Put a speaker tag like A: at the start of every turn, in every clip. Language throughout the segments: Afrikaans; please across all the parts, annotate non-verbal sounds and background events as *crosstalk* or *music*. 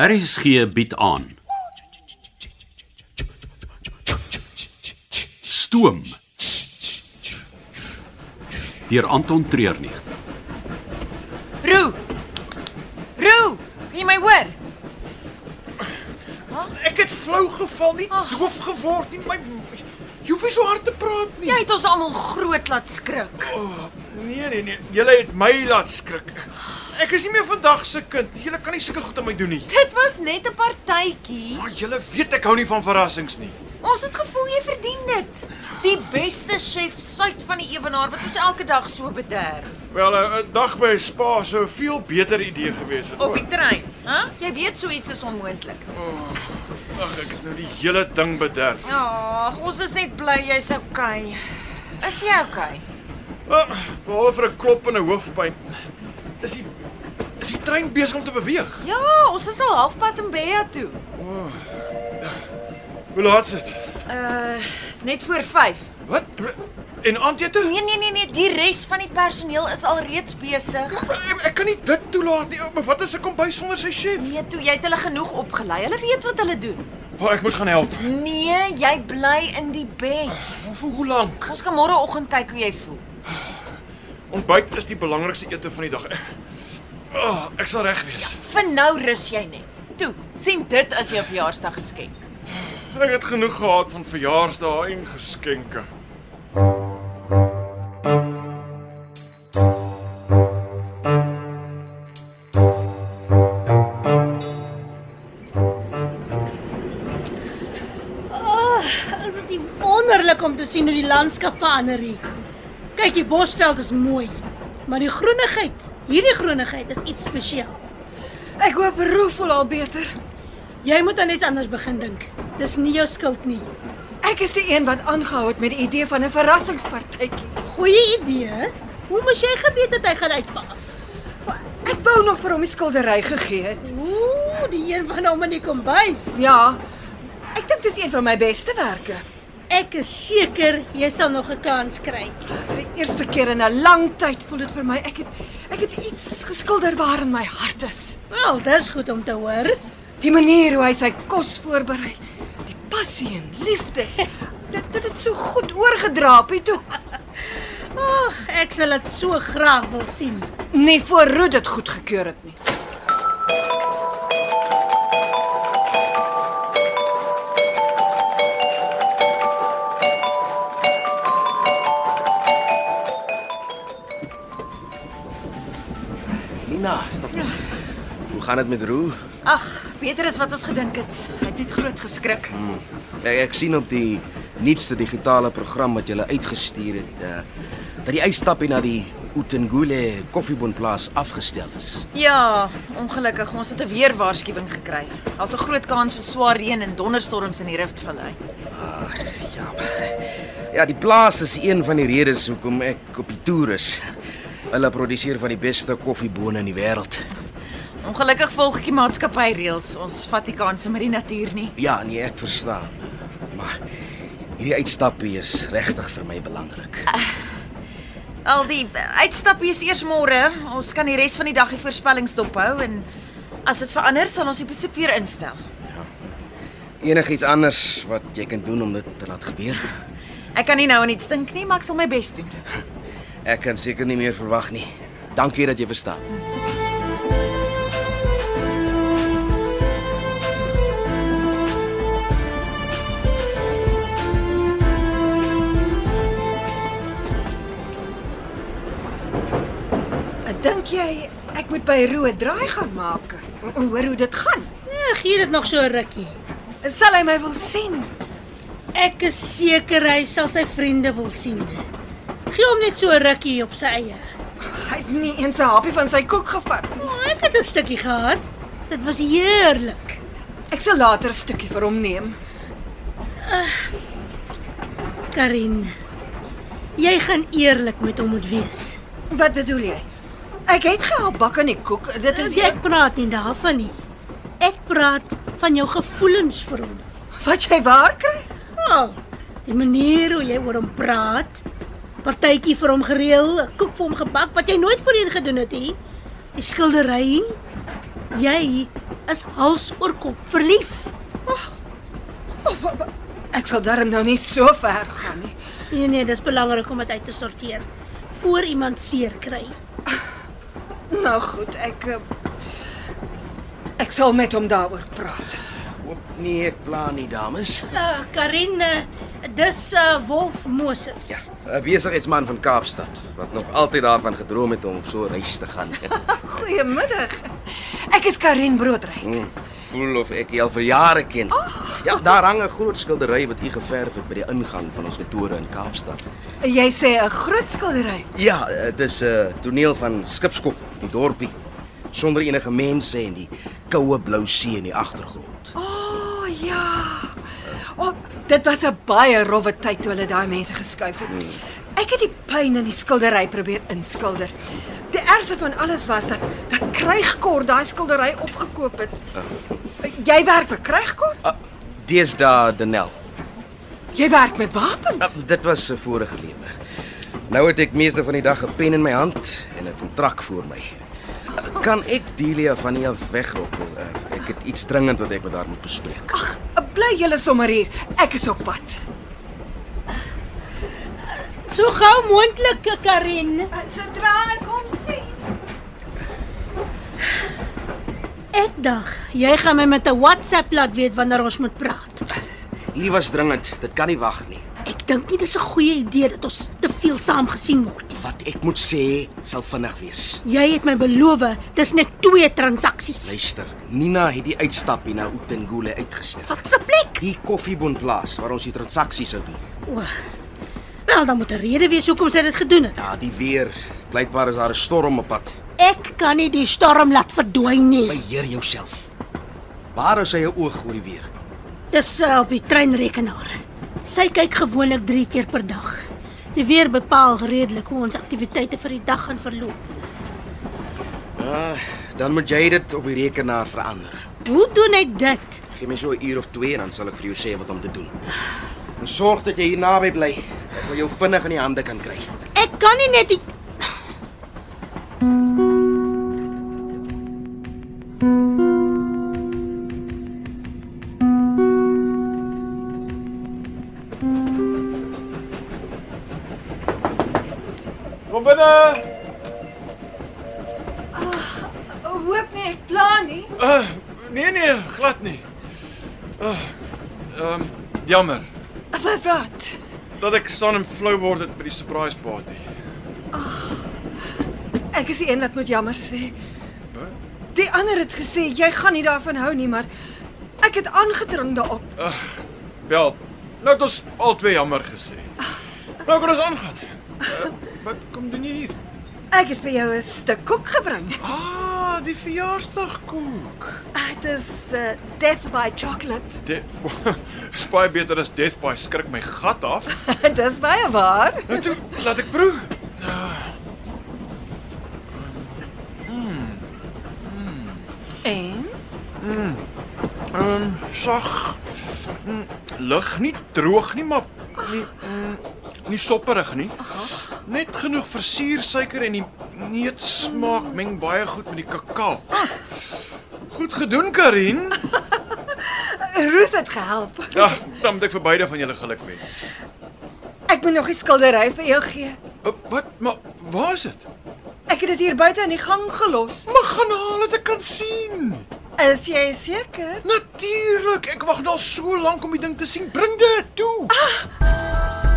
A: RSG bied aan. Stoom. Deur Anton Treurnig.
B: Roo. Roo, kan jy my hoor?
C: Ek het flou geval, nie
B: Ag.
C: doof geword nie. My jy hoef nie so hard te praat nie.
B: Jy het ons almal groot laat skrik.
C: Oh, nee nee nee, julle het my laat skrik. Ek is nie meer vandag se kind. Julle kan nie sulke goed aan my doen nie.
B: Dit was net 'n partytjie.
C: Maar julle weet ek hou nie van verrassings nie.
B: Ons het gevoel jy verdien dit. Die beste chef suid van die ewenaar wat ons elke dag so bederf.
C: Wel, 'n dag by spa sou 'n veel beter idee gewees het.
B: Op die trein, hè? Jy weet so iets is onmoontlik.
C: Ag, ek het nou die hele ding bederf.
B: Ag, ons is net bly jy's okay. Is jy okay?
C: Oh, behalwe vir 'n klop en 'n hoofpyn. Is die is die trein besig om te beweeg?
B: Ja, ons is al halfpad in Beja toe.
C: Hoe laat is dit?
B: Uh, is net voor 5.
C: Wat? En aandete?
B: Nee nee nee nee, die res van die personeel is al reeds besig.
C: Ek, ek kan nie dit toelaat nie. Maar wat as ek kom by sonder sy chef?
B: Nee, toe jy het hulle genoeg opgelei. Hulle weet wat hulle doen.
C: Oh, ek moet gaan help.
B: Nee, jy bly in die bed.
C: Maar vir hoe lank?
B: Ons kan môreoggend kyk hoe jy voel.
C: Ontbyt is die belangrikste ete van die dag. Oh, ek sal reg wees.
B: Vir nou rus jy net. Toe, sien dit as jou verjaarsdag geskenk.
C: Ek het genoeg gehad van verjaarsdae en geskenke.
D: Is dit nie wonderlik om te sien hoe die landskap verander hier? Kyk, die bosveld is mooi, maar die groenigheid, hierdie groenigheid is iets spesiaal.
E: Ek hoop Roo voel al beter.
D: Jy moet aan iets anders begin dink. Dis nie jou skuld nie.
E: Ek is die een wat aangehou het met die idee van 'n verrassingspartytjie.
D: Goeie idee. hè? Hoe moes jy geweet dat hy gaan uitpas?
E: Maar Ek wou nog vir hom die skildery gegee het.
D: Ooh, die een van hom in die kombuis.
E: Ja. Ek dink dis een van my beste werke.
D: Ek is seker jy sal nog 'n kans kry.
E: Vir die eerste keer in 'n lang tyd voel dit vir my ek het ek het iets geskilder waarin my hart is.
D: Wel, dis goed om te hoor.
E: Die manier hoe hy sy kos voorberei, die passie en liefde. *laughs* Dit dit het so goed oorgedra op die doek.
D: Ag, ek sal dit so graag wil sien.
E: Nie voor Roo dit goedgekeur het nie.
F: Nina. Nou. Hoe gaan dit met Roo?
B: Ag, beter as wat ons gedink het. Hy het net groot geskrik.
F: Ek, ek sien op die nuutste digitale program wat jy hulle uitgestuur het, uh, dat die uitstappie na die Utengule koffiebonplaas afgestel is.
B: Ja, ongelukkig, ons het 'n weerwaarskuwing gekry. Daar's 'n groot kans vir swaar reën en donderstorms in die Rift Valley.
F: Ja. Ja, die plaas is een van die redes hoekom ek op die toer is. Hulle produseer van die beste koffiebone in die wêreld.
B: Ongelukkig volg ek die maatskappy reëls. Ons vat nie kanse met die natuur nie.
F: Ja, nee, ek verstaan. Maar hierdie uitstappie is regtig vir my belangrik.
B: Al die uitstappies eers môre. Ons kan die res van die dag die voorspellings dophou en as dit verander sal ons die besoek weer instel.
F: Enigiets anders wat jy kan doen om dit te laat gebeur?
B: Ek kan nie nou aan iets dink nie, maar ek sal my bes doen.
F: Ek kan seker nie meer verwag nie. Dankie dat jy verstaan.
E: Ek dink jy ek moet by Roo 'n draai gaan maak en- en hoor hoe dit gaan.
D: Nee, gee dit nog so 'n rukkie.
E: Sal hy my wil sien?
D: Ek is seker hy sal sy vriende wil sien. Gee hom net so 'n rukkie op sy eie.
E: Hy het nie eens 'n happie van sy koek gevat nie.
D: O, ek het 'n stukkie gehad. Dit was heerlik.
E: Ek sal later 'n stukkie vir hom neem.
D: Karin, jy gaan eerlik met hom moet wees.
E: Wat bedoel jy? Ek het gehelp bak aan die koek. Dit is
D: Dis ek praat nie daarvan nie. Ek praat van jou gevoelens vir hom.
E: wat jy waar kry.
D: O, die manier hoe jy oor hom praat. Partytjie vir hom gereël, 'n koek vir hom gebak wat jy nooit voorheen gedoen het nie. Die skildery. Jy is hals oor kop verlief.
E: Ek sal darm nou nie so ver gaan nie.
D: Nee nee, dis belangrik om dit uit te sorteer voor iemand seer kry.
E: Nou goed, ek eh, ek sal met hom daaroor praat.
F: Hoop nee, ek pla nie, dames.
D: Uh, Karin, uh, dis uh, Wolf Moses.
F: Ja, 'n besigheidsman van Kaapstad wat nog altyd daarvan gedroom het om op so 'n reis te gaan. *laughs*
E: Goeiemiddag. Ek is Karin Broodry.
F: Hmm, Voel of ek jou al vir jare ken. Ja, daar hang 'n groot skildery wat u geverf het by die ingang van ons kantore in Kaapstad.
E: Jy sê 'n groot skildery.
F: Ja, dit is 'n toneel van skipskop, die dorpie sonder enige mense en die koue blou see in die agtergrond.
E: O, oh, ja. O, oh, dit was 'n baie rowwe tyd toe hulle daai mense geskuif het. Ek het die pyn in die skildery probeer inskilder. Die ergste van alles was dat dat Krygkort daai skildery opgekoop het. Jy werk vir Krygkort?
F: Uh, Deesdae Denel.
E: Jy werk met wapens.
F: Uh, dit was 'n vorige lewe. Nou het ek meeste van die dag 'n pen in my hand en 'n kontrak voor my. Uh, Kan ek Delia van hier af wegrokkel? Uh, ek het iets dringend wat ek met haar moet bespreek.
E: Ag, bly julle sommer hier. Ek is op pad.
D: So gou moontlik, eh, Karin.
E: Sodra ek hom sien.
D: Ek dag, jy gaan my met 'n WhatsApp laat weet wanneer ons moet praat.
F: Hierdie was dringend, dit kan nie wag nie.
D: Ek dink nie dis 'n goeie idee dat ons te veel saam gesien word nie.
F: Wat ek moet sê, sal vinnig wees.
D: Jy het my beloof, dis net twee transaksies.
F: Luister, Nina het die uitstappie na Utengule uitgestel.
D: Wat se plek?
F: Die koffiebondplaas waar ons die transaksies sou doen.
D: O. Wel, dan moet 'n rede wees hoekom sy dit gedoen het.
F: Ja, die weer. Blykbaar is daar 'n storm op pad.
D: Ek kan nie die storm laat verdwyn nie.
F: Beheer jouself. Waar is sy oog oor die weer?
D: Dis uh, op die treinrekenaar. Sy kyk gewoonlik 3 keer per dag. Die weer bepaal redelik hoe ons aktiwiteite vir die dag gaan verloop.
F: Ah, dan moet jy dit op die rekenaar verander.
D: Hoe doen ek dit?
F: Gee my so 'n uur of 2 en dan sal ek vir jou sê wat om te doen. En sorg dat jy hier naby bly. Ek wil jou vinnig in die hande kan kry.
D: Ek kan nie net die
C: Kom binne.
E: Hoop nie ek plan nie.
C: Uh, nee nee, glad nie. Uh, ehm um, jammer
E: Wat wat?
C: dat ek staan en flou word het by die surprise party.
E: Ek is die een wat moet jammer sê. Die ander het gesê jy gaan nie daarvan hou nie, maar ek het aangedring daarop.
C: Wel, nou het ons al twee jammer gesê. Nou kan ons aangaan. Uh, wat kom doen jy hier?
E: Ek het vir jou 'n stuk koek gebring.
C: Ah, die verjaarsdagkoek.
E: Dit is uh, Death by Chocolate.
C: *laughs* Dis baie beter as Death by skrik my gat af.
E: *laughs* Dis baie waar.
C: Nou toe, laat ek proe.
E: En
C: Ehm um, sag. Mm, Lig nie droog nie, maar nie mm, nie sopperig nie. Net genoeg versuur suiker en die neetsmaak meng baie goed met die kakao. Goed gedoen, *laughs* Karin.
E: Ruth het gehelp.
C: Ja, dan moet ek vir beide van julle geluk wens.
E: Ek moet nog die skildery vir jou gee.
C: Uh, Wat? Maar waar is dit?
E: Ek het dit hier buite in die gang gelos.
C: Maar gaan haal dit ek kan sien.
E: Is jy seker?
C: Natuurlik, ek wag nou al so lank om die ding te sien. Bring dit toe. Ah.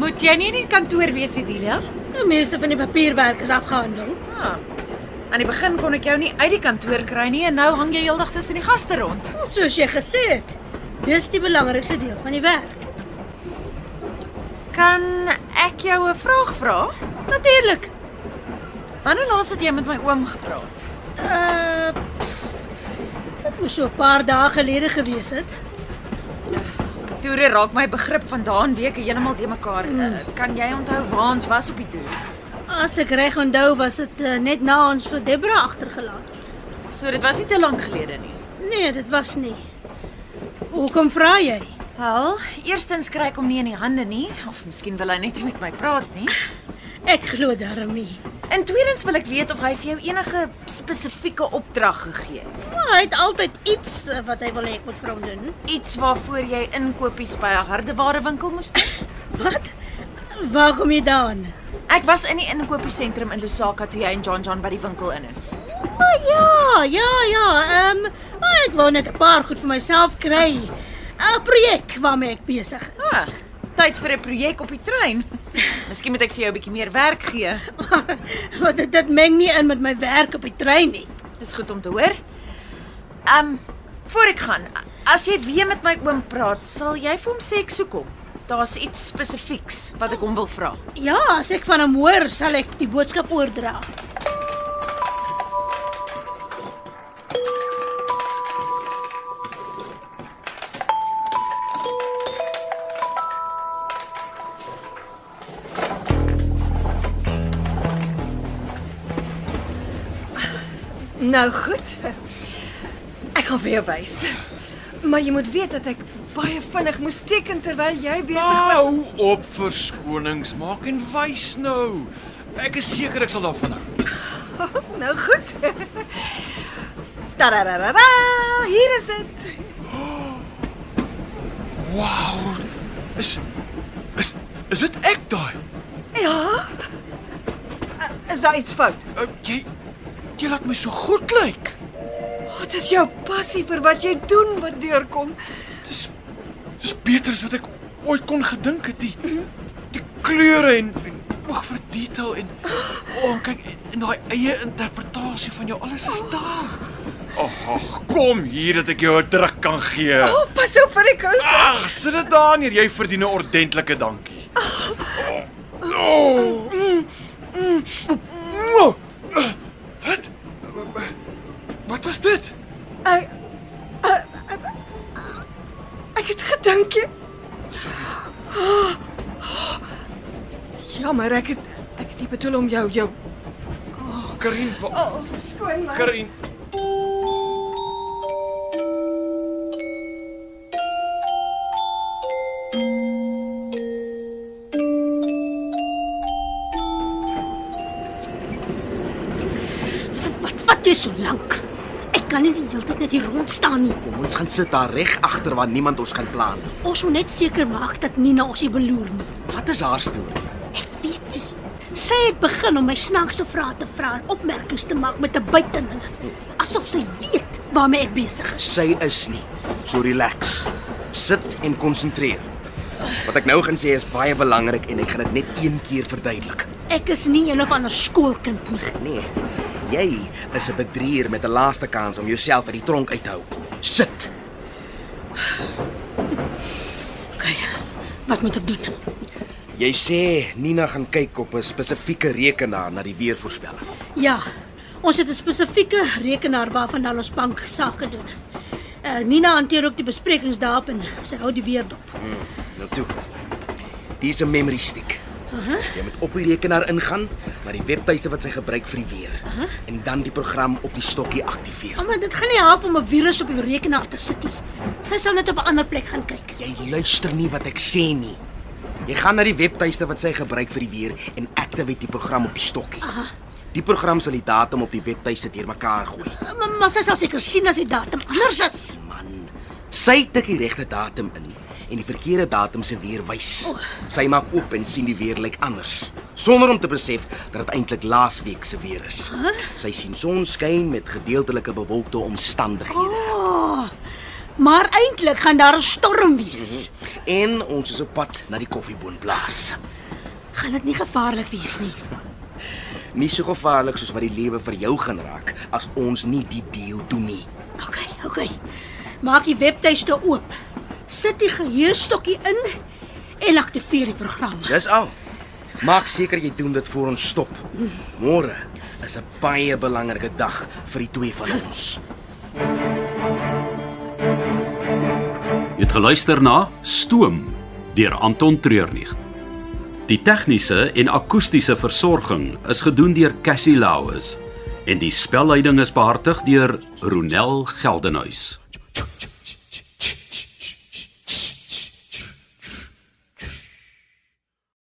B: Moet jy nie in die kantoor wees, Idilia?
D: Die meeste van die papierwerk is afgehandel.
B: Ah. Aan die begin kon ek jou nie uit die kantoor kry nie en nou hang jy heeldag tussen die gaste rond.
D: Soos jy gesê het, dis die belangrikste deel van die werk.
B: Kan ek jou 'n vraag vra?
D: Natuurlik.
B: Wanneer laas het jy met my oom gepraat?
D: Uh pff, Dit moes so 'n paar dae gelede gewees het.
B: Toere raak my begrip van daan weke heeltemal te mekaar. Uh, kan jy onthou waar ons was op die toer?
D: As ek reg onthou, was dit uh, net na ons vir Debra agtergelaat het.
B: So dit was nie te lank gelede nie.
D: Nee, dit was nie. Hoekom vra jy?
B: Wel, eerstens kry ek hom nie in die hande nie of miskien wil hy net nie met my praat nie.
D: Ek glo darm nie.
B: En tweedens wil ek weet of hy vir jou enige spesifieke opdrag gegee het.
D: Maar hy het altyd iets eh, wat hy wil hê ek moet vir hom doen.
B: Iets waarvoor jy inkopies by 'n hardewarewinkel moes doen?
D: Wat? Waar kom jy daan?
B: Ek was in die inkopiesentrum in Lusaka toe jy en John John by die winkel in is.
D: Maar ja, ja, ja. Ehm, maar ek wou net 'n paar goed vir myself kry. 'n Projek waarmee ek besig is.
B: Ah, tyd vir 'n projek op die trein. *laughs* Miskien moet ek vir jou 'n bietjie meer werk gee.
D: *laughs* Want dit, dit meng nie in met my werk op die trein nie.
B: Dis goed om te hoor. Ehm, um, voor ek gaan, as jy weer met my oom praat, sal jy vir hom sê ek soek hom. Daar's iets spesifieks wat ek hom wil vra.
D: Ja, as ek van hom hoor, sal ek die boodskap oordra.
E: Nou goed. Ek gaan vir jou wys. Maar jy moet weet dat ek baie vinnig moes teken terwyl jy besig was.
C: Hou Nou op verskonings maak en wys nou. Ek is seker ek sal daarvan hou.
E: Nou goed. Tarararara, hier is dit.
C: Wow. Is is is dit ek daai?
E: Ja. Is daar iets fout?
C: Uh, jy jy laat my so goed lyk.
E: Wat is jou passie vir wat jy doen wat deurkom?
C: Dis dis beter as wat ek ooit kon gedink het. Die die kleure en, en oog vir detail en o, oh, kyk en daai eie interpretasie van jou alles is daar. Ag, kom hier dat ek jou 'n druk kan gee.
E: O, oh, pas op vir die kous.
C: Ag, sit dit daar neer. Jy verdien 'n ordentlike dankie. Oh. Oh. Wat? Wat was dit?
E: Ek ek het gedink jy Ah. Jammer, ek het ek het nie bedoel om jou jou
C: Karin, wa-
E: oh, verskoon my.
C: Karin.
D: Wat wat jy so lank? Ek kan nie die hele tyd net hier rond staan nie.
F: Kom ons gaan sit daar reg agter waar niemand ons gaan pla nie.
D: Ons moet net seker maak dat Nina ons nie beloer nie.
F: Wat is haar storie?
D: Ek weet jy. Sy het begin om my snaakse vrae te vra en opmerkings te maak met 'n byt in hulle, asof sy weet waarmee ek besig is.
F: Sy is nie. So relax. Sit en konsentreer. Wat ek nou gaan sê is baie belangrik en ek gaan dit net een keer verduidelik.
D: Ek is nie een of ander skoolkind nie.
F: Nee. Jy is 'n bedrieër met 'n laaste kans om jouself uit die tronk uit te hou. Sit.
D: Okay. Wat moet ek doen?
F: Jy sê Nina gaan kyk op 'n spesifieke rekenaar na die weervoorspelling.
D: Ja. Ons het 'n spesifieke rekenaar waarvandaan ons bank sake doen. Eh uh, Nina hanteer ook die besprekings daarop en sy hou die weer dop.
F: Nou toe. Dis 'n memory stick. Jy moet op die rekenaar ingaan na die webtuiste wat sy gebruik vir die weer en dan die program op die stokkie aktiveer.
D: Ja, Maar dit gaan nie help om 'n virus op die rekenaar te sit nie. Sy sal net op 'n ander plek gaan kyk.
F: Jy luister nie wat ek sê nie. Jy gaan na die webtuiste wat sy gebruik vir die weer en activate die program op die stokkie. Die program sal die datum op die webtuiste deurmekaar gooi.
D: Eh, Maar, maar sy sal seker sien as die datum anders is.
F: Man, sy tik die regte datum in en die verkeerde datum se weer wys. Sy maak oop en sien die weer lyk anders, sonder om te besef dat dit eintlik laasweek se weer is. Sy sien sonskyn met gedeeltelike bewolkte omstandighede.
D: Oh, maar eintlik gaan daar 'n storm wees.
F: En ons is op pad na die koffieboonplaas.
D: Gaan dit nie gevaarlik wees nie.
F: Nie so gevaarlik soos wat die lewe vir jou gaan raak as ons nie die deal doen nie.
D: OK, OK. Maak die webtuiste oop. Sit die geheuestokkie in en aktiveer die program.
F: Dis al. Maak seker jy doen dit voor ons stop. Môre is 'n baie belangrike dag vir die twee van ons.
A: Jy het geluister na Stoom deur Anton Treurnig. Die tegniese en akoestiese versorging is gedoen deur Cassie Lauis en die spelleiding is behartig deur Ronel Geldenhuys.
F: Tjoe, tjoe,